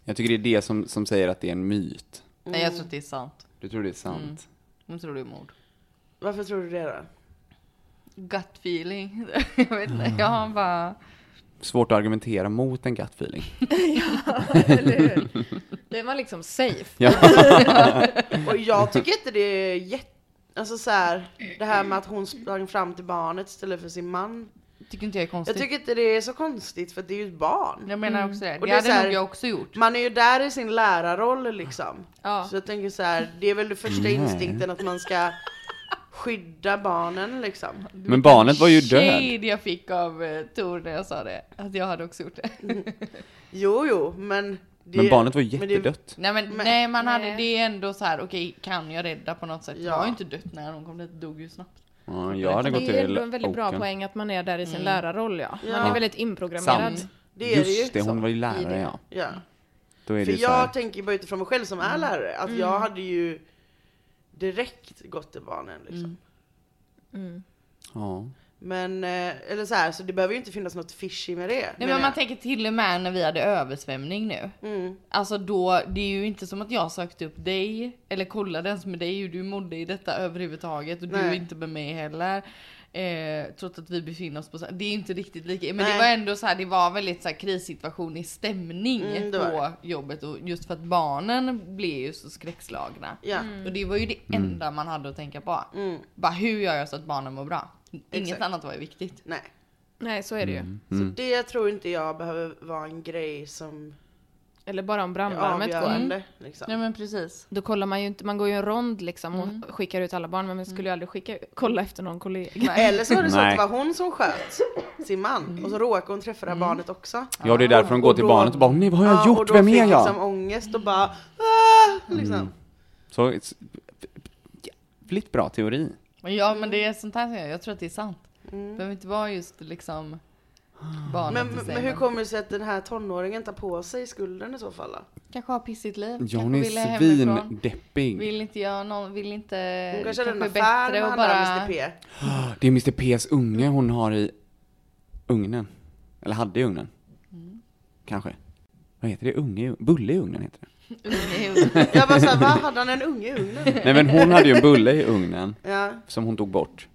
Speaker 3: jag tycker det är det som, som säger att det är en myt. Mm.
Speaker 2: Nej jag tror att det är sant.
Speaker 3: Du tror det är sant?
Speaker 2: Nu tror du är mord.
Speaker 4: Varför tror du det då?
Speaker 2: Gut feeling. jag vet
Speaker 3: Mm.
Speaker 2: inte, jag har bara...
Speaker 3: Svårt att argumentera mot en gut feeling.
Speaker 5: Eller hur? Det var liksom safe.
Speaker 4: Och jag tycker inte det är jätte... Alltså så här, det här med att hon sprang fram till barnet istället för sin man.
Speaker 2: Tycker inte jag är konstigt.
Speaker 4: Jag tycker inte det är så konstigt för det är ju ett barn.
Speaker 2: Jag menar också det.
Speaker 4: Och
Speaker 2: Det
Speaker 4: det är så
Speaker 2: hade
Speaker 4: här-
Speaker 2: nog jag också gjort.
Speaker 4: Man är ju där i sin lärarroll liksom.
Speaker 5: Ja.
Speaker 4: Så jag tänker så här, det är väl den första instinkten att man ska skydda barnen liksom.
Speaker 3: Men barnet var ju död.
Speaker 2: Shade jag fick av eh, Tor när jag sa det. Att jag hade också gjort det.
Speaker 4: Jo, jo, men... Det,
Speaker 3: Men barnet var ju
Speaker 4: men det-
Speaker 3: jättedött.
Speaker 2: nej men
Speaker 4: Men-
Speaker 2: nej, man hade
Speaker 5: Nej.
Speaker 2: det är ändå så här. okej kan jag rädda på något sätt?
Speaker 4: Ja.
Speaker 2: Jag har ju inte dött när hon kom dit, dog ju snabbt.
Speaker 3: Ja, jag hade
Speaker 5: Det
Speaker 3: gått
Speaker 5: är ju ändå en
Speaker 3: till
Speaker 5: väldigt bra
Speaker 3: Oaken.
Speaker 5: poäng att man är där i sin lärarroll ja. Man
Speaker 4: Ja.
Speaker 5: är väldigt inprogrammerad.
Speaker 3: Sant.
Speaker 4: Det är det ju. liksom.
Speaker 3: Just det, hon var ju lärare ja.
Speaker 4: Ja.
Speaker 3: Då är det
Speaker 4: För
Speaker 3: ju så här.
Speaker 4: jag tänker bara utifrån mig själv som
Speaker 2: Mm.
Speaker 4: är lärare, att jag hade ju direkt gått till barnen liksom.
Speaker 2: Mm.
Speaker 3: Ja.
Speaker 4: Men, eh, eller så här, så det behöver ju inte finnas något fishy med det.
Speaker 2: Nej
Speaker 4: menar
Speaker 2: men man
Speaker 4: jag.
Speaker 2: tänker till och med när vi hade översvämning nu.
Speaker 4: Mm.
Speaker 2: Alltså då, det är ju inte som att jag sökte upp dig eller kollade ens med dig hur du mådde i detta överhuvudtaget och du är
Speaker 4: Nej.
Speaker 2: inte med mig heller. Eh, trots att vi befinner oss på, det är inte riktigt lika, men det
Speaker 4: Nej.
Speaker 2: var ändå så här, det var väldigt så här krissituation i stämning
Speaker 4: Mm, det var
Speaker 2: på jobbet och just för att barnen blev ju så skräckslagna.
Speaker 4: Ja.
Speaker 2: Och det var ju det enda man hade att tänka på.
Speaker 4: Mm.
Speaker 2: Bara hur gör jag så att barnen mår bra? Inget
Speaker 4: Exakt.
Speaker 2: annat var ju viktigt.
Speaker 4: Nej.
Speaker 5: Nej så är det ju.
Speaker 3: Mm.
Speaker 4: Så det tror inte jag behöver vara en grej som
Speaker 5: Eller bara om
Speaker 4: är
Speaker 5: brandlarmet går.
Speaker 4: avgörande.
Speaker 2: Mm.
Speaker 4: Liksom.
Speaker 2: Nej men precis.
Speaker 5: Då kollar man ju inte, man går ju en rond liksom och skickar ut alla barn men man skulle ju aldrig skicka, kolla efter någon kollega.
Speaker 4: Eller så var det så att
Speaker 3: Nej.
Speaker 4: det var hon som sköt sin man och så råkade hon träffa det här barnet också.
Speaker 3: ja, det är därför de går
Speaker 4: Och
Speaker 3: till
Speaker 4: då-
Speaker 3: barnet och bara nej vad har jag
Speaker 4: Ja, och
Speaker 3: gjort,
Speaker 4: då
Speaker 3: vem
Speaker 4: fick
Speaker 3: är jag?
Speaker 4: liksom ångest och bara ah, liksom.
Speaker 3: Så, it's- jävligt bra teori.
Speaker 2: Men ja men
Speaker 4: Mm.
Speaker 2: det är sånt här som jag, jag tror att det är sant. Det behöver inte vara just liksom barnet
Speaker 4: Men,
Speaker 2: i sig.
Speaker 4: men hur kommer det sig att den här tonåringen tar på sig skulden i så fall då?
Speaker 2: Kanske har pissigt liv.
Speaker 3: Ja, hon
Speaker 2: kanske
Speaker 3: är
Speaker 2: ville hemifrån.
Speaker 3: svindeppig.
Speaker 2: Vill inte göra någon, vill inte...
Speaker 4: Hon kanske hade en
Speaker 2: Eh, kanske
Speaker 4: affär med
Speaker 2: bättre
Speaker 4: han
Speaker 2: att bara...
Speaker 4: bara... Mr P.
Speaker 3: Det är Mr P's unge hon har i ugnen. Eller hade i ugnen. Kanske. Vad heter det? Unge? i ugn- Bulle i ugnen heter det.
Speaker 4: Jag bara såhär, va? Hade han en unge i ugnen?
Speaker 3: Nej men hon hade ju en bulle i ugnen
Speaker 4: Ja.
Speaker 3: som hon tog bort.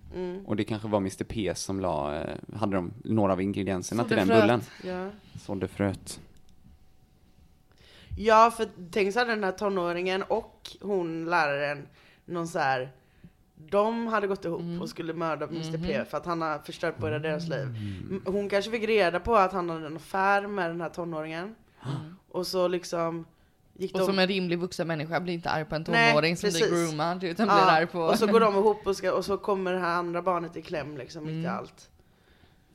Speaker 3: Och det kanske var Mr P som la, eh, hade de några av ingredienserna till den
Speaker 2: Sådde fröet.
Speaker 3: bullen.
Speaker 4: ja.
Speaker 3: Sådde fröet.
Speaker 4: Ja, för tänk så hade den här tonåringen och hon läraren någon så här. De hade gått ihop
Speaker 2: Mm.
Speaker 4: och skulle mörda Mr
Speaker 2: Mhm.
Speaker 4: P för att han har förstört båda deras liv.
Speaker 3: Mm.
Speaker 4: M- Hon kanske fick reda på att han hade en affär med den här tonåringen. Och så liksom gick
Speaker 2: Mm. Och
Speaker 4: de...
Speaker 2: som en rimlig vuxen människa blir inte arg på en
Speaker 4: Nej,
Speaker 2: tonåring som blir
Speaker 4: precis.
Speaker 2: groomad utan
Speaker 4: Ja,
Speaker 2: blir arg på...
Speaker 4: Och så går de ihop och, ska, och så kommer det här andra barnet i kläm liksom mitt i
Speaker 2: Mm.
Speaker 4: allt.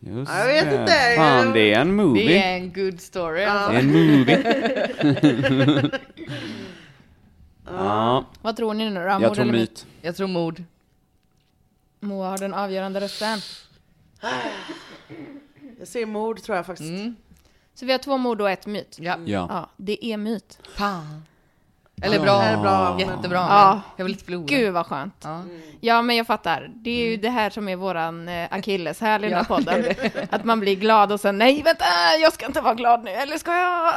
Speaker 3: Just
Speaker 4: Ja, jag vet
Speaker 3: det.
Speaker 4: inte.
Speaker 3: Fan, det är en movie.
Speaker 2: Det är en good story alltså.
Speaker 3: Det är en movie. ja,
Speaker 5: Vad tror ni nu då?
Speaker 3: jag
Speaker 5: Mord
Speaker 3: tror
Speaker 5: eller
Speaker 3: myt.
Speaker 2: Jag tror mord.
Speaker 5: Moa har den avgörande rösten.
Speaker 4: Jag ser mord tror jag
Speaker 2: Mm.
Speaker 4: faktiskt. Mm.
Speaker 5: Så vi har två mord och ett myt.
Speaker 2: Ja.
Speaker 3: Ja.
Speaker 5: Ja, det är myt.
Speaker 2: Fan. Eller bra.
Speaker 4: Eller bra, men-
Speaker 2: Jättebra.
Speaker 5: Ja.
Speaker 2: Men jag vill inte förlora.
Speaker 5: Gud vad skönt.
Speaker 2: Ja.
Speaker 5: Ja, men jag fattar. Det är ju det här som är våran eh, akilleshäl i den här
Speaker 2: Ja.
Speaker 5: podden. Att man blir glad och sen nej, vänta, jag ska inte vara glad nu, eller ska jag?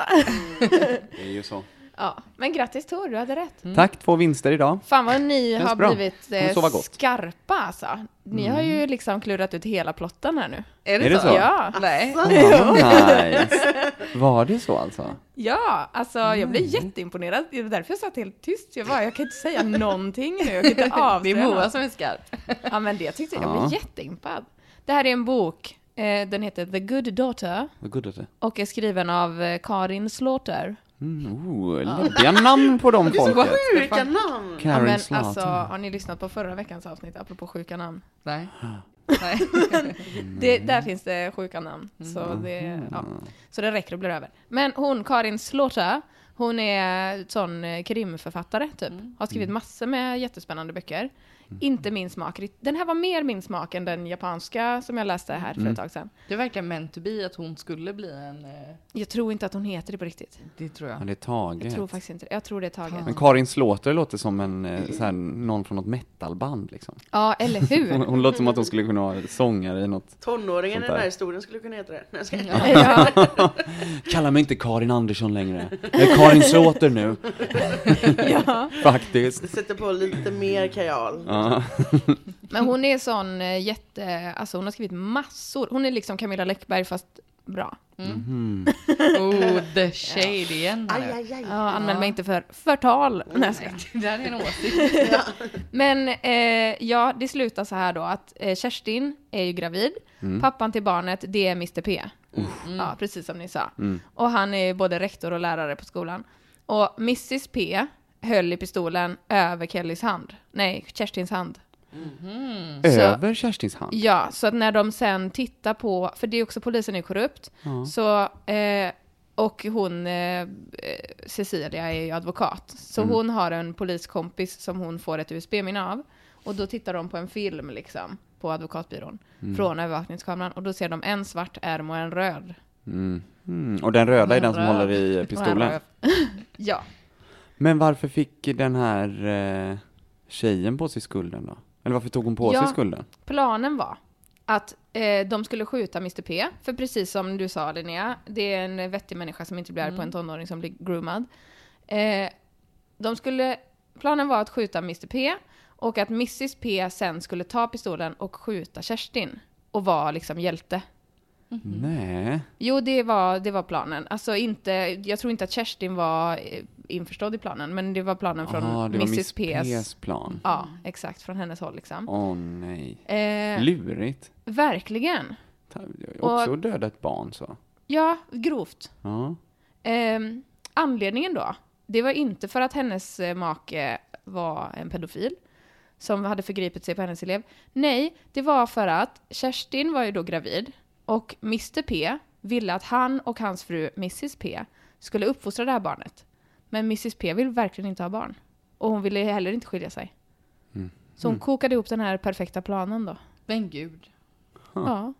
Speaker 3: Det är ju så.
Speaker 5: Ja, men grattis Tor, du hade rätt.
Speaker 3: Tack, två vinster idag.
Speaker 5: Fan vad ni
Speaker 3: Mm. Känns
Speaker 5: har
Speaker 3: bra.
Speaker 5: blivit
Speaker 3: Kommer
Speaker 5: eh,
Speaker 3: sova gott.
Speaker 5: skarpa alltså. Ni har ju liksom klurat ut hela plotten här nu.
Speaker 2: Är det,
Speaker 3: Är det
Speaker 2: så?
Speaker 3: så?
Speaker 5: Ja,
Speaker 2: Nej.
Speaker 4: alltså.
Speaker 3: Nice. Var det så alltså?
Speaker 5: ja, alltså jag
Speaker 2: Mm.
Speaker 5: blev jätteimponerad. Det var därför jag satt helt tyst. Jag bara, jag kan inte säga någonting nu, jag kan inte
Speaker 2: Det är
Speaker 5: avslöja
Speaker 2: Moa
Speaker 5: något.
Speaker 2: som är skarp.
Speaker 5: Ja, men det tyckte jag. Jag
Speaker 3: Ja.
Speaker 5: blev jätteimpad. Det här är en bok. Eh, den heter The Good Daughter
Speaker 3: Vad god att det
Speaker 5: och är skriven av eh, Karin Slaughter.
Speaker 3: mm, oh, Läbbiga namn på de folket.
Speaker 4: Sjuka namn!
Speaker 5: Ja,
Speaker 3: Karen
Speaker 5: men
Speaker 3: Zlatan.
Speaker 5: alltså, har ni lyssnat på förra veckans avsnitt, apropå sjuka namn?
Speaker 2: Nej. Nej.
Speaker 5: Det, där finns det sjuka namn, så, det, ja. så det räcker och blir över. Men hon, Karin Slaughter, hon är sån eh, krimförfattare, typ. Har skrivit massor med jättespännande böcker. Inte min smak. Den här var mer min smak än den japanska som jag läste här för ett tag sedan.
Speaker 2: Det verkar meant to be att hon skulle bli en... eh,
Speaker 5: Jag tror inte att hon heter det på riktigt.
Speaker 2: Det tror
Speaker 3: Ja,
Speaker 2: jag.
Speaker 3: det är taget.
Speaker 5: Jag tror faktiskt inte det. Jag tror det är taget.
Speaker 3: Men Karin Slåter låter som en, eh, så här, någon från något metalband liksom.
Speaker 5: Ja, eller
Speaker 3: Hon,
Speaker 5: hur?
Speaker 3: hon låter som att hon skulle kunna vara sångare i något.
Speaker 4: Tonåringen i
Speaker 3: Sånt
Speaker 4: den här
Speaker 3: där.
Speaker 4: historien skulle kunna heta det. Nej, jag skojar.
Speaker 5: ja,
Speaker 3: Kalla mig inte Karin Andersson längre. Jag är Karin Slåter nu.
Speaker 5: ja.
Speaker 3: Faktiskt.
Speaker 4: Sätter på lite mer kajal.
Speaker 3: Ja.
Speaker 5: Men hon är sån eh, jätte... Alltså hon har skrivit massor. Hon är liksom Camilla Läckberg fast bra.
Speaker 2: Oh, the shade igen.
Speaker 4: Aj,
Speaker 2: här.
Speaker 4: aj, aj.
Speaker 5: Ja, anmäl mig inte för förtal. Nej, jag skojar.
Speaker 2: Det där är en åsikt.
Speaker 5: Men eh, ja, det slutar så här då att eh, Kerstin är ju gravid. Pappan till barnet, det är Mr P. Mm. Ja, precis som ni sa. Och han är ju både rektor och lärare på skolan. Och Mrs P höll i pistolen över Kellys hand. Nej, Kerstins hand.
Speaker 3: Över Kerstins hand.
Speaker 5: Ja, så att när de sen tittar på, för det är också polisen är korrupt, så, eh, och hon, eh, eh, Cecilia är ju advokat, så
Speaker 3: Mm.
Speaker 5: hon har en poliskompis som hon får ett USB-minne av, och då tittar de på en film liksom, på advokatbyrån,
Speaker 3: Mm.
Speaker 5: från övervakningskameran, och då ser de en svart ärm och en röd.
Speaker 3: Mm. Och den röda är den som
Speaker 2: Röd.
Speaker 3: håller i pistolen.
Speaker 5: Ja,
Speaker 3: Men varför fick den här eh, tjejen på sig skulden då? Eller varför tog hon på
Speaker 5: Ja.
Speaker 3: sig skulden?
Speaker 5: planen var att eh, de skulle skjuta Mr P, för precis som du sa Linnea, det är en vettig människa som inte blir
Speaker 3: Mm.
Speaker 5: arg på en tonåring som blir groomad. Eh, de skulle, planen var att skjuta Mr P och att Mrs P sen skulle ta pistolen och skjuta Kerstin och vara liksom hjälte. Mhm.
Speaker 3: Nej.
Speaker 5: Jo, det var, det var planen. Alltså inte, jag tror inte att Kerstin var eh, införstådd i planen, men det var planen från
Speaker 3: ah, det var
Speaker 5: Mrs
Speaker 3: Miss
Speaker 5: P's.
Speaker 3: P's plan.
Speaker 5: Ja, exakt. Från hennes håll liksom.
Speaker 3: Åh nej.
Speaker 5: Eh,
Speaker 3: Lurigt.
Speaker 5: verkligen.
Speaker 3: Ta- Också döda ett barn så.
Speaker 5: Ja, grovt.
Speaker 3: Ja.
Speaker 5: Ehm, anledningen då, det var inte för att hennes eh, make var en pedofil som hade förgripit sig på hennes elev. Nej, det var för att Kerstin var ju då gravid och Mr P ville att han och hans fru Mrs P skulle uppfostra det här barnet. Men Mrs P vill verkligen inte ha barn. Och hon ville heller inte skilja sig. Så hon kokade ihop den här perfekta planen då.
Speaker 2: Men gud.
Speaker 5: Ja.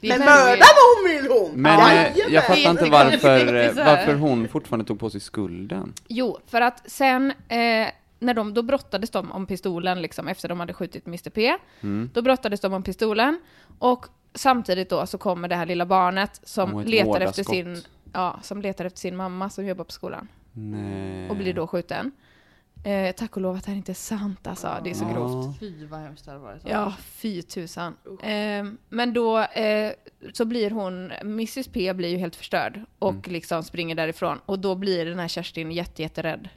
Speaker 2: Det
Speaker 4: Men
Speaker 2: är-
Speaker 4: mörda vad hon vill hon!
Speaker 3: Men eh,
Speaker 4: Jajamän.
Speaker 3: jag fattar inte varför, eh,
Speaker 2: jättekonstigt så här.
Speaker 3: varför hon fortfarande tog på sig skulden.
Speaker 5: Jo, för att sen eh, när de, då brottades de om pistolen liksom efter de hade skjutit Mr P.
Speaker 3: Mm.
Speaker 5: Då brottades de om pistolen och samtidigt då så kommer det här lilla barnet som
Speaker 3: Och ett
Speaker 5: letar
Speaker 3: hårda
Speaker 5: efter
Speaker 3: skott.
Speaker 5: sin Ja, som letar efter sin mamma som jobbar på skolan
Speaker 3: Nej.
Speaker 5: och blir då skjuten. Eh, tack och lov att det här inte är sant alltså, det är så
Speaker 3: Ja.
Speaker 5: grovt.
Speaker 2: Fy vad hemskt det hade varit.
Speaker 5: Ja, fy tusan. Ehm, men då eh, så blir hon, Mrs P blir ju helt förstörd och liksom springer därifrån. Och då blir den här Kerstin jätte, jätterädd.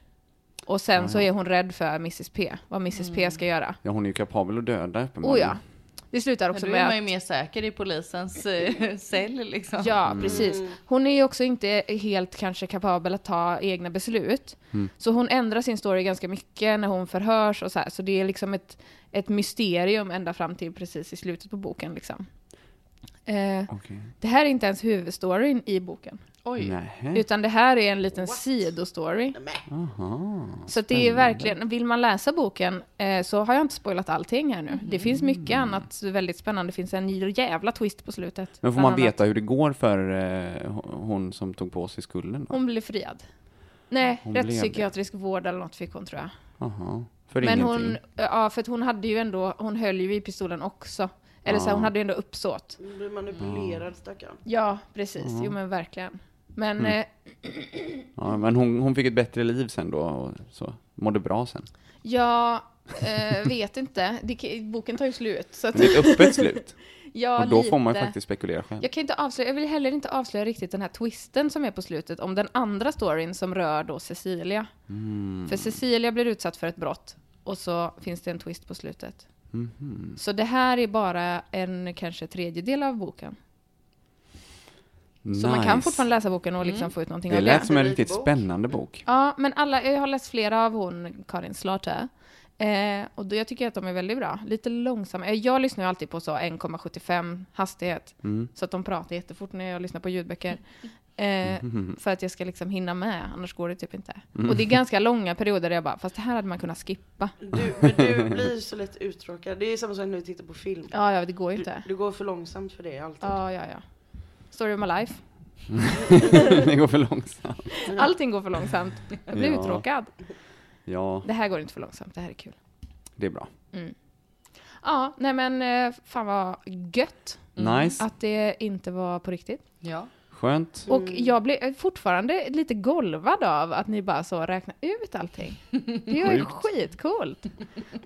Speaker 5: Och sen så är hon rädd för Mrs P, vad Mrs P ska göra.
Speaker 3: Ja, hon är ju kapabel att döda uppenbarligen.
Speaker 5: Oh ja. Det slutar
Speaker 2: Men
Speaker 5: också
Speaker 2: då är
Speaker 5: med
Speaker 2: man ju
Speaker 5: att,
Speaker 2: mer säker i polisens eh, cell liksom.
Speaker 5: Ja,
Speaker 3: mm.
Speaker 5: precis. Hon är ju också inte helt kanske kapabel att ta egna beslut.
Speaker 3: Mm.
Speaker 5: Så hon ändrar sin story ganska mycket när hon förhörs och så här. Så det är liksom ett, ett mysterium ända fram till precis i slutet på boken liksom. Eh,
Speaker 3: Okej.
Speaker 5: Det här är inte ens huvudstoryn i boken.
Speaker 2: Oj.
Speaker 3: Nähä.
Speaker 5: Utan det här är en liten sidostory.
Speaker 3: Aha.
Speaker 5: Så att det är verkligen, vill man läsa boken eh, så har jag inte spoilat allting här nu. Det finns mycket
Speaker 3: Mm.
Speaker 5: annat väldigt spännande. Det finns en jävla twist på slutet.
Speaker 3: Men får
Speaker 5: Bland
Speaker 3: man
Speaker 5: annat,
Speaker 3: veta hur det går för eh, hon som tog på sig skulden då?
Speaker 5: Hon blir friad. Nej,
Speaker 3: Hon blev det.
Speaker 5: rättspsykiatrisk vård eller något fick hon tror jag.
Speaker 3: Jaha. För
Speaker 5: Men
Speaker 3: ingenting.
Speaker 5: hon, ja för att hon hade ju ändå, hon höll ju i pistolen också. Eller så här, hon hade ju ändå uppsåt.
Speaker 4: Hon blir manipulerad stackarn.
Speaker 5: Ja, precis. Jo men verkligen. Men
Speaker 3: Mm.
Speaker 5: eh,
Speaker 3: Ja, men hon, hon fick ett bättre liv sen då och så. Mådde bra sen.
Speaker 5: jag eh, vet inte. Det, kan- boken tar ju slut. Så att,
Speaker 3: Det är ett öppet slut.
Speaker 5: ja,
Speaker 3: Och då får man ju
Speaker 5: lite.
Speaker 3: faktiskt spekulera själv.
Speaker 5: Jag kan inte avslöja, jag vill heller inte avslöja riktigt den här twisten som är på slutet om den andra storyn som rör då Cecilia.
Speaker 3: Mm.
Speaker 5: För Cecilia blir utsatt för ett brott och så finns det en twist på slutet.
Speaker 3: Mhm.
Speaker 5: Så det här är bara en kanske tredjedel av boken. Så man kan
Speaker 3: Nice.
Speaker 5: fortfarande läsa boken och liksom få ut någonting
Speaker 3: Det
Speaker 5: av
Speaker 3: lät
Speaker 5: det.
Speaker 3: som en
Speaker 4: Bok.
Speaker 3: riktigt spännande bok.
Speaker 5: Ja, men alla, jag har läst flera av hon, Karin Slater. Eh, och då, jag tycker att de är väldigt bra. Lite långsamma. Eh, Jag lyssnar ju alltid på så 1,75 hastighet. Så att de pratar jättefort när jag lyssnar på ljudböcker. Eh, för att jag ska liksom hinna med, annars går det typ inte. Och det är ganska långa perioder där jag bara, fast det här hade man kunnat skippa.
Speaker 4: Du, men du blir så lätt uttråkad. Det är samma sak när vi tittar på film.
Speaker 5: Ja, ja, det går ju
Speaker 4: Du,
Speaker 5: inte.
Speaker 4: du går för långsamt för det alltid.
Speaker 5: Ja, ja, ja. Story of my life.
Speaker 3: det går för långsamt.
Speaker 5: Allting går för långsamt. Jag blir
Speaker 3: Ja.
Speaker 5: uttråkad.
Speaker 3: Ja,
Speaker 5: Det här går inte för långsamt, det här är kul.
Speaker 3: det är bra.
Speaker 5: Ja, nej men eh, fan vad gött.
Speaker 3: Nice.
Speaker 5: Att det inte var på riktigt.
Speaker 2: Ja.
Speaker 3: Skönt.
Speaker 5: Och jag blir fortfarande lite golvad av att ni bara så räknar ut allting. Det är ju
Speaker 3: Sjukt.
Speaker 5: skitcoolt.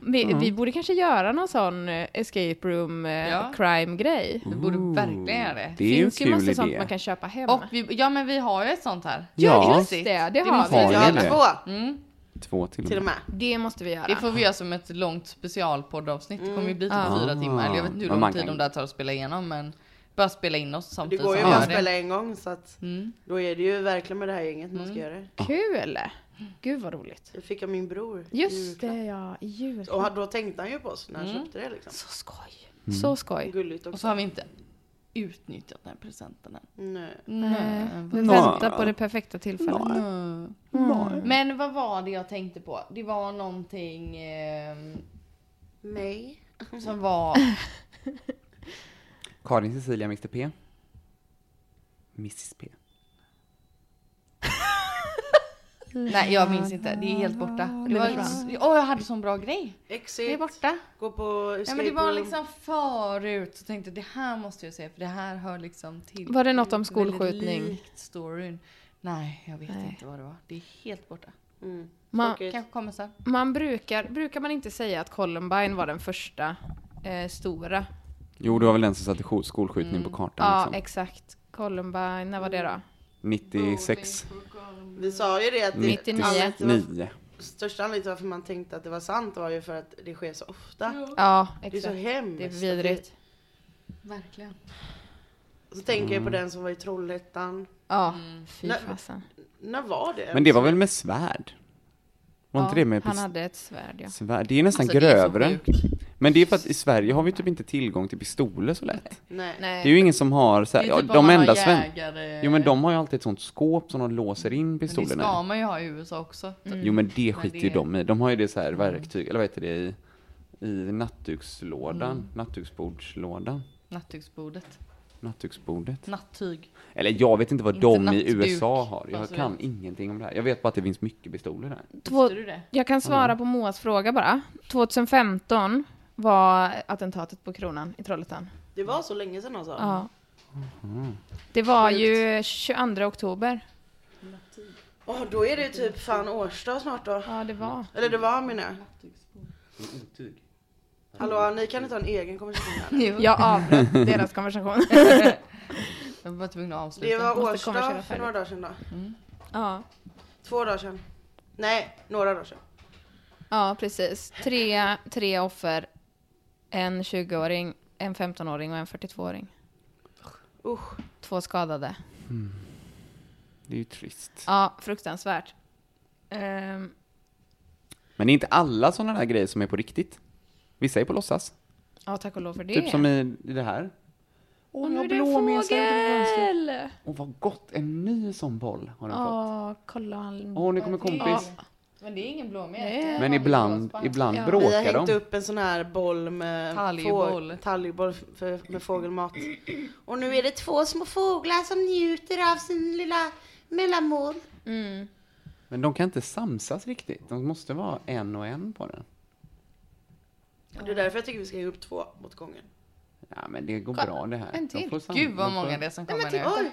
Speaker 5: Vi, vi borde kanske göra någon sån eh, escape room eh,
Speaker 2: Ja.
Speaker 5: crime-grej.
Speaker 2: Vi borde verkligen göra det.
Speaker 3: Det är ju en
Speaker 5: finns ju
Speaker 3: kul
Speaker 5: massa sånt
Speaker 3: idé.
Speaker 5: man kan köpa hem.
Speaker 2: Och vi, ja men vi har ju ett sånt här.
Speaker 3: Ja.
Speaker 5: Just det, det har
Speaker 2: måste
Speaker 3: vi.
Speaker 2: vi.
Speaker 4: Jag
Speaker 3: Ja,
Speaker 4: har
Speaker 3: det.
Speaker 4: två
Speaker 3: Två till och
Speaker 4: till
Speaker 3: med.
Speaker 4: och med.
Speaker 5: Det måste vi göra.
Speaker 2: Det får vi göra som ett långt specialpoddavsnitt. Det kommer ju bli typ
Speaker 3: Ah.
Speaker 2: fyra timmar. Eller jag vet inte
Speaker 3: Men
Speaker 2: hur
Speaker 3: man
Speaker 2: lång tid
Speaker 3: kan-
Speaker 2: de där tar att spela igenom men bara spela in oss
Speaker 4: Det
Speaker 2: samtidigt
Speaker 4: går ju
Speaker 2: som vi gör
Speaker 4: bara att
Speaker 2: det. Mm.
Speaker 4: spela en gång så att då är det ju verkligen med det här gänget man ska göra det.
Speaker 5: Kul! Gud vad roligt.
Speaker 4: Det fick jag min bror. i
Speaker 5: Just
Speaker 4: julklapp.
Speaker 5: det ja, i jul.
Speaker 4: Och då tänkte han ju på oss när han köpte det liksom.
Speaker 5: Så skoj.
Speaker 3: Mm.
Speaker 5: Så skoj.
Speaker 4: Gulligt
Speaker 2: Och
Speaker 4: också.
Speaker 2: så har vi inte utnyttjat den här presenten än.
Speaker 4: Nej.
Speaker 5: Nej, vi
Speaker 3: Nå.
Speaker 5: Eh, väntar på det perfekta tillfället.
Speaker 2: Mm. Men vad var det jag tänkte på? Det var någonting ehm,
Speaker 4: Nej.
Speaker 2: som var...
Speaker 3: Karin Cecilia, Mr P. Mrs P.
Speaker 2: Nej jag minns inte, det är helt borta. Det var... liksom- Åh jag hade sån bra grej!
Speaker 4: Exit.
Speaker 2: Det är borta.
Speaker 4: Gå på
Speaker 2: Nej
Speaker 4: escape
Speaker 2: men det var
Speaker 4: room.
Speaker 2: liksom förut så tänkte jag det här måste jag säga för det här hör liksom till.
Speaker 5: Var det något om
Speaker 2: Väldigt
Speaker 5: skolskjutning?
Speaker 2: likt storyn. Nej jag vet
Speaker 5: Nej.
Speaker 2: inte vad det var. Det är helt borta.
Speaker 4: Mm.
Speaker 5: Man,
Speaker 4: Tråkigt.
Speaker 2: Kanske kommer sen.
Speaker 5: man brukar, brukar man inte säga att Columbine var den första eh, stora?
Speaker 3: Jo, det var väl den som satte skol- skolskjutning på kartan.
Speaker 5: Ja,
Speaker 3: liksom.
Speaker 5: exakt. Columbine, när var det då?
Speaker 3: 96,
Speaker 4: Vi sa ju det att det,
Speaker 5: 99.
Speaker 4: anledningen till varför-
Speaker 3: 9.
Speaker 4: Största anledningen till varför man tänkte att det var sant var ju för att det sker så ofta.
Speaker 5: Ja,
Speaker 4: Det är
Speaker 5: exakt.
Speaker 4: så hemskt.
Speaker 5: Det är vidrigt.
Speaker 2: Verkligen.
Speaker 4: Så tänker
Speaker 3: Mm.
Speaker 4: jag på den som var i Trollhättan.
Speaker 5: Ja, fy
Speaker 4: Nej,
Speaker 5: fasen.
Speaker 4: När var det?
Speaker 3: Men det var väl med svärd? Var
Speaker 5: Ja,
Speaker 3: inte det med
Speaker 5: han
Speaker 3: pist-
Speaker 5: hade ett svärd ja.
Speaker 3: svärd? Det är nästan
Speaker 2: Alltså, det är så
Speaker 3: grövre. men det är för att i Sverige har vi typ inte tillgång till pistoler så lätt.
Speaker 4: Nej.
Speaker 3: Det är ju ingen som har så här, ja, de enda sven...
Speaker 2: typ jägare...
Speaker 3: Jo men de har ju alltid ett sånt skåp som de låser in
Speaker 2: Men det
Speaker 3: pistolerna
Speaker 2: ska
Speaker 3: i.
Speaker 2: man ju ha i USA också.
Speaker 3: Jo men det skiter ju
Speaker 2: det- Mm.
Speaker 3: de i. De har ju det så här verktyg, eller vad heter det, i, i nattdukslådan,
Speaker 2: Mm.
Speaker 3: nattduksbordslådan,
Speaker 2: Nattduksbordet.
Speaker 3: nattduksbordet.
Speaker 2: Nattyg.
Speaker 3: Eller jag vet inte vad
Speaker 2: Inte
Speaker 3: de i
Speaker 2: nattduk,
Speaker 3: USA har. Jag
Speaker 2: alltså.
Speaker 3: kan ingenting om det här. Jag vet bara att det finns mycket pistoler där.
Speaker 5: Två,
Speaker 2: Visste du det?
Speaker 5: jag kan svara på Moas fråga bara. 2015 var attentatet på Kronan i Trollhättan.
Speaker 4: Det var så länge sedan alltså.
Speaker 5: Ja.
Speaker 3: Mhm.
Speaker 5: Det var ju 22 oktober.
Speaker 4: Åh, då är det ju typ fan årsdag snart då.
Speaker 5: Ja, det var.
Speaker 4: Eller det var menar jag. Hallå, ni kan inte ha en egen konversation här.
Speaker 2: Jo.
Speaker 5: Jag avbröt deras konversation.
Speaker 2: Jag var tvungen att avsluta.
Speaker 4: Det var
Speaker 5: måste
Speaker 4: årsdag
Speaker 5: konversera
Speaker 4: för
Speaker 5: färdigt.
Speaker 4: några dagar sedan då.
Speaker 5: Ja.
Speaker 4: Två dagar sedan. Nej, några dagar sedan.
Speaker 5: Ja, precis. Tre, tre offer. En 20-åring, en 15-åring och en 42-åring.
Speaker 4: Usch.
Speaker 5: Två skadade.
Speaker 3: Det är ju trist.
Speaker 5: Ja, fruktansvärt. Ehm,
Speaker 3: Men det är inte alla sådana där grejer som är på riktigt. Vissa är på låtsas.
Speaker 5: ja, tack och lov för det.
Speaker 3: Typ som i, i det här. Åh,
Speaker 5: och
Speaker 3: nu
Speaker 5: nu
Speaker 3: har
Speaker 5: är det
Speaker 3: blå med sig en till vänster.
Speaker 5: en fågel!
Speaker 3: Åh, vad gott! En ny sån boll har den fått.
Speaker 5: Ja, kolla han.
Speaker 3: Åh, nu kommer kompis.
Speaker 2: Men det är ingen blåmet.
Speaker 5: Nej.
Speaker 3: Men ibland, ibland
Speaker 5: Ja.
Speaker 4: Vi har
Speaker 3: bråkar
Speaker 4: hängt
Speaker 3: de.
Speaker 4: upp en sån här boll med
Speaker 2: Talgboll.
Speaker 4: få- talgboll f- för, med fågelmat. Och nu är det två små fåglar som njuter av sin lilla mellanmål.
Speaker 3: Men de kan inte samsas riktigt. De måste vara en och en på den.
Speaker 4: Det är därför jag tycker vi ska ge upp två mot gången.
Speaker 3: Ja, men det går
Speaker 2: Kolla,
Speaker 3: bra det här.
Speaker 2: En
Speaker 3: De
Speaker 2: till.
Speaker 3: får sam-
Speaker 2: Gud vad
Speaker 3: de får-
Speaker 2: många det är som
Speaker 4: Nej
Speaker 2: kommer
Speaker 4: men typ titta,
Speaker 2: nu.
Speaker 4: oj,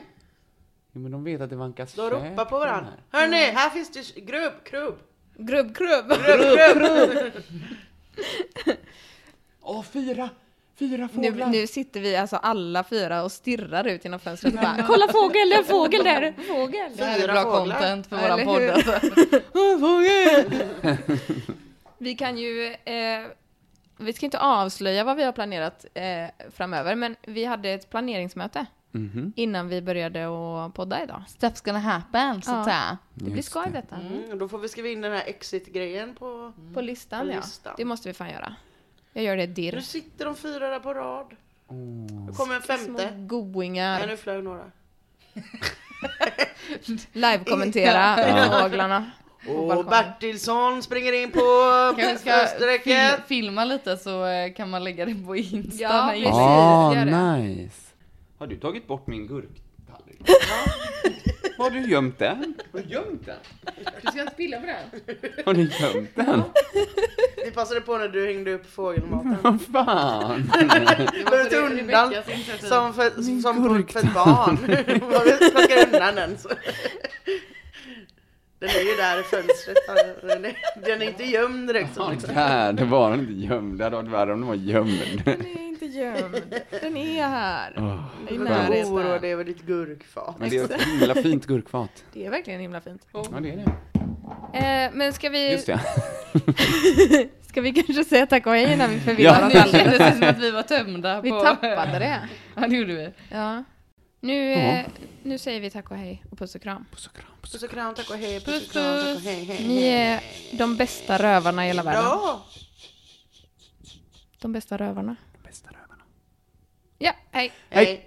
Speaker 3: Jo, men de vet att det vankas
Speaker 4: de
Speaker 3: käk
Speaker 4: ropar på varandra.
Speaker 3: här.
Speaker 4: Hörni, här finns det grubb, krubb.
Speaker 5: Grubb, grubb!
Speaker 3: Åh, fyra! Fyra
Speaker 5: Nu,
Speaker 3: fåglar!
Speaker 5: nu sitter vi alltså alla fyra och stirrar ut genom fönstret bara, Kolla fågel, det är en fågel där! Fågel!
Speaker 2: Det här är
Speaker 4: Fyra
Speaker 2: bra
Speaker 4: fåglar.
Speaker 2: content för
Speaker 5: Ja,
Speaker 2: våran
Speaker 5: eller
Speaker 2: podd
Speaker 5: hur?
Speaker 2: alltså.
Speaker 5: Vi kan ju... Eh, vi ska inte avslöja vad vi har planerat eh, framöver, men vi hade ett planeringsmöte
Speaker 3: Mhm.
Speaker 5: innan vi började att podda idag.
Speaker 2: Steps gonna happen så
Speaker 5: Ja.
Speaker 2: att säga.
Speaker 5: Det blir
Speaker 3: Just
Speaker 5: skoj
Speaker 3: det.
Speaker 5: detta.
Speaker 4: Mm, då får vi skriva in den här exit-grejen på...
Speaker 2: Mm.
Speaker 5: På listan,
Speaker 4: På
Speaker 5: ja.
Speaker 4: listan.
Speaker 5: Det måste vi fan göra. Jag gör det
Speaker 4: Nu
Speaker 5: dirr.
Speaker 4: sitter de fyra där på rad.
Speaker 3: Åh.
Speaker 4: Nu kommer en
Speaker 5: Små
Speaker 4: femte. Nej,
Speaker 5: goingar.
Speaker 4: nu flög några.
Speaker 5: Live-kommentera fåglarna.
Speaker 4: Och
Speaker 5: balkongen.
Speaker 4: Bertilsson springer in på
Speaker 2: Kanske ska
Speaker 4: fönsterräcket.
Speaker 2: fil- filma lite så eh, kan man lägga det på Insta.
Speaker 5: Ja,
Speaker 2: när-
Speaker 5: precis.
Speaker 3: Ah,
Speaker 5: gör det.
Speaker 3: nice! Har du tagit bort min gurktallrik? Har du gömt den? Har du gömt den?
Speaker 2: Du ska inte spilla på den.
Speaker 3: Har du gömt den?
Speaker 4: Vi passade på när du hängde upp fågelmaten.
Speaker 3: Vad fan!
Speaker 4: Du behöver inte
Speaker 2: Alltså, det- det
Speaker 4: undan
Speaker 2: väckas initiativ.
Speaker 4: som för, som
Speaker 3: gurk.
Speaker 4: för ett barn. Man plockar undan den. Så. Den är ju där i fönstret. Den är, den är inte gömd direkt. Så
Speaker 3: Ja,
Speaker 4: liksom.
Speaker 3: där, det var den inte gömd. Det hade varit värre om den var gömd.
Speaker 5: Den är inte gömd. Den är här.
Speaker 3: Åh, skönt.
Speaker 4: Du
Speaker 5: I
Speaker 4: behöver inte
Speaker 5: närheten.
Speaker 4: oroa dig över ditt gurkfat.
Speaker 3: Men det är ett himla fint gurkfat.
Speaker 5: Det är Oh. verkligen himla fint.
Speaker 3: Ja, det är det.
Speaker 5: Eh, men ska vi,
Speaker 3: Just det.
Speaker 5: ska vi kanske säga tack och hej innan vi
Speaker 3: Ja.
Speaker 5: förvirrar
Speaker 2: Nu
Speaker 5: oss
Speaker 2: kändes det som att vi var tömda
Speaker 5: Vi
Speaker 2: på...
Speaker 5: tappade det.
Speaker 2: Ja det gjorde vi.
Speaker 5: Ja. Nu, eh, nu säger vi tack och hej och puss och kram.
Speaker 3: Puss och kram.
Speaker 4: Puss och kram, tack och hej. Puss
Speaker 2: Puss,
Speaker 4: och kram, tack och
Speaker 2: puss.
Speaker 4: hej. hej,
Speaker 5: Ni
Speaker 4: hej.
Speaker 5: är de bästa rövarna i hela världen.
Speaker 4: Ja,
Speaker 5: De bästa rövarna.
Speaker 3: De bästa rövarna.
Speaker 5: Ja, hej.
Speaker 4: hej.